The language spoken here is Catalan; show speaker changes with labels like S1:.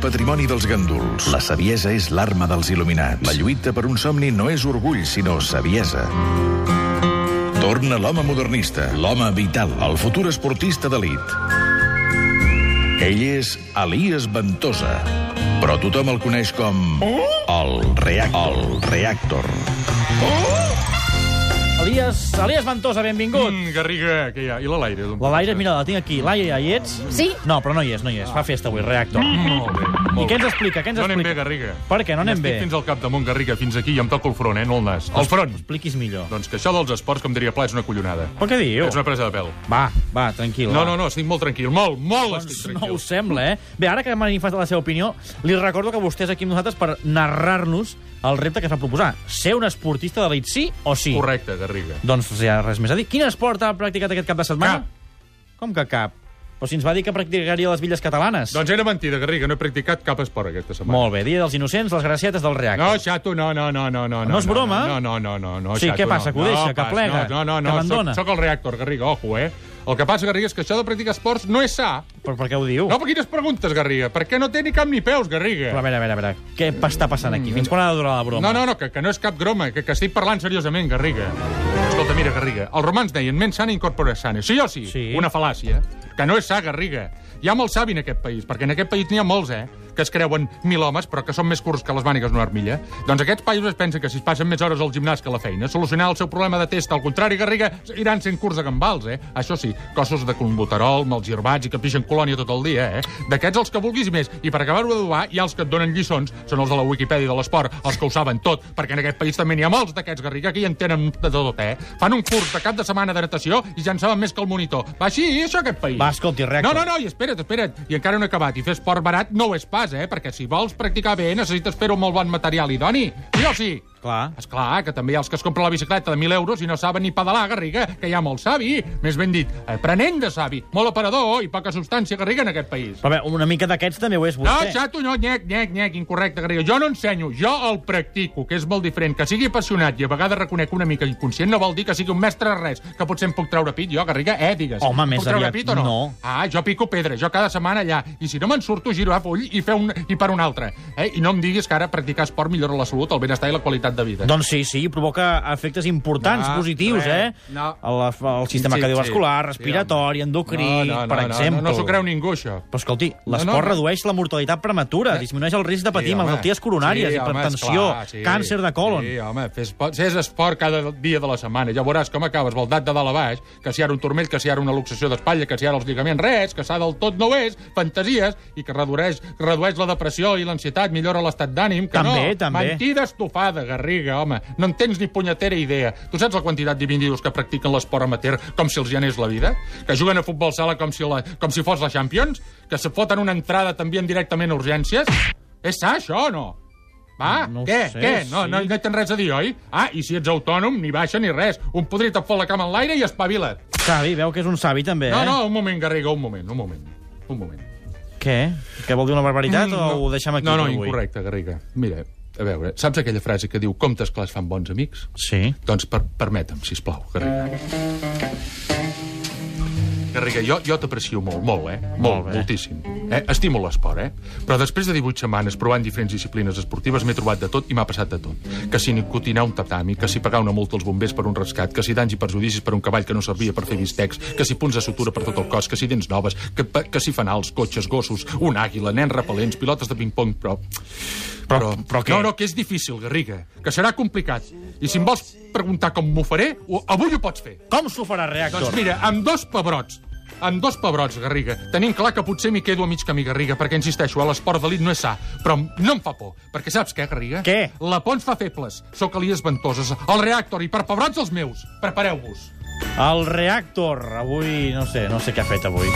S1: patrimoni dels ganduls. La saviesa és l'arma dels il·luminats. La lluita per un somni no és orgull, sinó saviesa. Torna l'home modernista, l'home vital, el futur esportista d'elit. Ell és Elias Ventosa, però tothom el coneix com... El Reactor. El Reactor.
S2: Elias, Elias Ventosa, benvingut. Mm.
S3: Mm, Garriga, que hi ha? I la Laire? d'on
S2: La Laire, mira, la tinc aquí. Laia, hi ets?
S4: Sí.
S2: No, però no hi és, no hi és. Fa festa avui, reactor.
S3: passa? Mm, Molt bé. Molt
S2: I què ens
S3: bé.
S2: explica? Què ens
S3: No anem
S2: explica?
S3: bé, Garriga.
S2: Per què no anem
S3: Estic
S2: bé?
S3: fins al capdamunt, Garriga, fins aquí, i em toco el front, eh, no el nas. El front!
S2: Expliquis millor.
S3: Doncs que això dels esports, com diria Pla, és una collonada.
S2: Però què diu?
S3: És una presa de pèl.
S2: Va, va, tranquil. va.
S3: No, no, no, estic molt tranquil. Molt, molt
S2: Doncs
S3: estic
S2: no
S3: tranquil.
S2: ho sembla, eh? Bé, ara que m'ha manifestat la seva opinió, li recordo que vostè és aquí amb nosaltres per narrar-nos el repte que es va proposar. Ser un esportista d'elit sí o sí?
S3: Correcte, Garriga.
S2: Doncs no hi ha res més a dir. Quin esport ha practicat aquest cap de setmana?
S3: Cap.
S2: Com que cap? Però si ens va dir que practicaria les villes catalanes.
S3: Doncs era mentida, Garriga, no he practicat cap esport aquesta setmana.
S2: Molt bé, dia dels innocents, les gracietes del reacte.
S3: No, xato, no, no, no, no, no.
S2: No és broma?
S3: No, no, no, no, no
S2: Sí,
S3: xato,
S2: què passa,
S3: no.
S2: que ho deixa,
S3: no,
S2: que
S3: pas,
S2: plega,
S3: No, no, no,
S2: que
S3: soc,
S2: abandona?
S3: soc el reactor, Garriga, ojo, eh? El que passa, Garriga, és que això de practicar esports no és sa.
S2: Però per què ho diu?
S3: No, però quines preguntes, Garriga? Per què no té ni cap ni peus, Garriga?
S2: Però a veure, a veure, a veure, què està passant aquí? Fins quan ha de durar la broma?
S3: Mm. No, no, no, que, que no és cap broma, que, que estic parlant seriosament, Garriga. Escolta, mira, Garriga, els romans deien mens sana incorpora sana. Sí o sí?
S2: Sí.
S3: Una fal·làcia. Que no és sa, Garriga. Hi ha molts savi en aquest país, perquè en aquest país n'hi ha molts, eh? que es creuen mil homes, però que són més curts que les mànigues d'una armilla. Doncs aquests països es pensen que si es passen més hores al gimnàs que a la feina, solucionar el seu problema de testa, al contrari, Garriga, iran sent curts a gambals, eh? Això sí, cossos de convoterol, mals i que pixen colònia tot el dia, eh? D'aquests els que vulguis i més. I per acabar-ho d'adobar, hi ha els que et donen lliçons, són els de la Wikipedia de l'esport, els que ho saben tot, perquè en aquest país també n'hi ha molts d'aquests, Garriga, que hi en tenen de tot, eh? Fan un curs de cap de setmana de natació i ja en saben més que el monitor. Va així, això, aquest país.
S2: Va, escolti,
S3: No,
S2: reactor.
S3: no, no, i espera't, espera't. I encara no he acabat. I fer esport barat no ho és pas, eh? Perquè si vols practicar bé necessites fer-ho amb molt bon material idoni. Sí o sí?
S2: Clar.
S3: És clar que també hi ha els que es compren la bicicleta de 1.000 euros i no saben ni pedalar, Garriga, que hi ha molt savi. Més ben dit, aprenent de savi. Molt aparador i poca substància, Garriga, en aquest país.
S2: Però a veure, una mica d'aquests també ho és
S3: No,
S2: vostè.
S3: xato, no, nyec, nyec, nyec, incorrecte, Garriga. Jo no ensenyo, jo el practico, que és molt diferent. Que sigui apassionat i a vegades reconec una mica inconscient no vol dir que sigui un mestre en res, que potser em puc treure pit jo, Garriga, eh, digues.
S2: Home,
S3: Em
S2: més
S3: puc treure
S2: aviat
S3: pit o no?
S2: no.
S3: Ah, jo pico pedra, jo cada setmana allà. I si no me'n surto, giro a full i, fer un, i per un altre. Eh? I no em diguis que ara practicar esport millora la salut, el benestar i la qualitat de vida.
S2: Doncs sí, sí, provoca efectes importants,
S3: No,
S2: positius,
S3: Ah, res,
S2: eh?
S3: no.
S2: El, el sistema
S3: Sí, sí,
S2: cardiovascular,
S3: sí,
S2: respiratori, endocrí, per exemple.
S3: No, no, s'ho creu ningú, això.
S2: Però escolti, l'esport
S3: No, no, no.
S2: redueix la mortalitat prematura, disminueix el risc de patir
S3: home.
S2: malalties coronàries,
S3: Sí, home,
S2: hipertensió,
S3: esclar, sí.
S2: càncer de colon.
S3: Sí, home, fes, po- fes esport cada dia de la setmana. Ja veuràs com acabes baldat de dalt a baix, que si ara un turmell, que si ara una luxació d'espatlla, que si ara els lligaments, res, que s'ha del tot no és, fantasies, i que redueix, redueix la depressió i l'ansietat, millora l'estat d'ànim, que
S2: També,
S3: no.
S2: també.
S3: Mentida estofada, Garriga, home. No en tens ni punyetera idea. Tu saps la quantitat d'individus que practiquen l'esport amateur com si els hi anés la vida? Que juguen a futbol sala com si, la, com si fos la Champions? Que se foten una entrada també en directament a urgències? És sa, això, o no? Va,
S2: No ho
S3: què,
S2: sé,
S3: què? No,
S2: sí.
S3: no, no hi tens res a dir, oi? Ah, i si ets autònom, ni baixa ni res. Un podrit et fot la cama en l'aire i espavila't.
S2: Savi, veu que és un savi, també,
S3: No,
S2: eh?
S3: no, un moment, Garriga, un moment, un moment. Un moment.
S2: Què? Que vol dir una barbaritat
S3: Mm,
S2: o ho deixem aquí?
S3: No, no,
S2: per avui?
S3: incorrecte, Garriga. Mira, a veure, saps aquella frase que diu comptes clars fan bons amics?
S2: Sí.
S3: Doncs per, permetem, si plau, Garriga. Garriga, jo, jo t'aprecio molt, molt, eh? Molt,
S2: Molt bé.
S3: moltíssim. Eh? Estimo l'esport, eh? Però després de 18 setmanes provant diferents disciplines esportives m'he trobat de tot i m'ha passat de tot. Que si nicotinar un tatami, que si pagar una multa als bombers per un rescat, que si danys i perjudicis per un cavall que no servia per fer bistecs, que si punts de sutura per tot el cos, que si dents noves, que, pa- que si fanals, cotxes, gossos, un àguila, nens repel·lents, pilotes de ping-pong, però...
S2: Però- però què?
S3: No, no, que és difícil, Garriga, que serà complicat. I si em vols preguntar com m'ho faré, ho- avui ho pots fer.
S2: Com s'ho farà reactor?
S3: Doncs mira, amb dos pebrots, amb dos pebrots, Garriga. Tenim clar que potser m'hi quedo a mig camí, Garriga, perquè, insisteixo, a l'esport d'elit no és sa. Però no em fa por, perquè saps què, Garriga?
S2: Què?
S3: La por ens fa febles. Sóc Elies Ventoses, el reactor, i per pebrots els meus. Prepareu-vos.
S2: El reactor, avui, no sé, no sé què ha fet avui.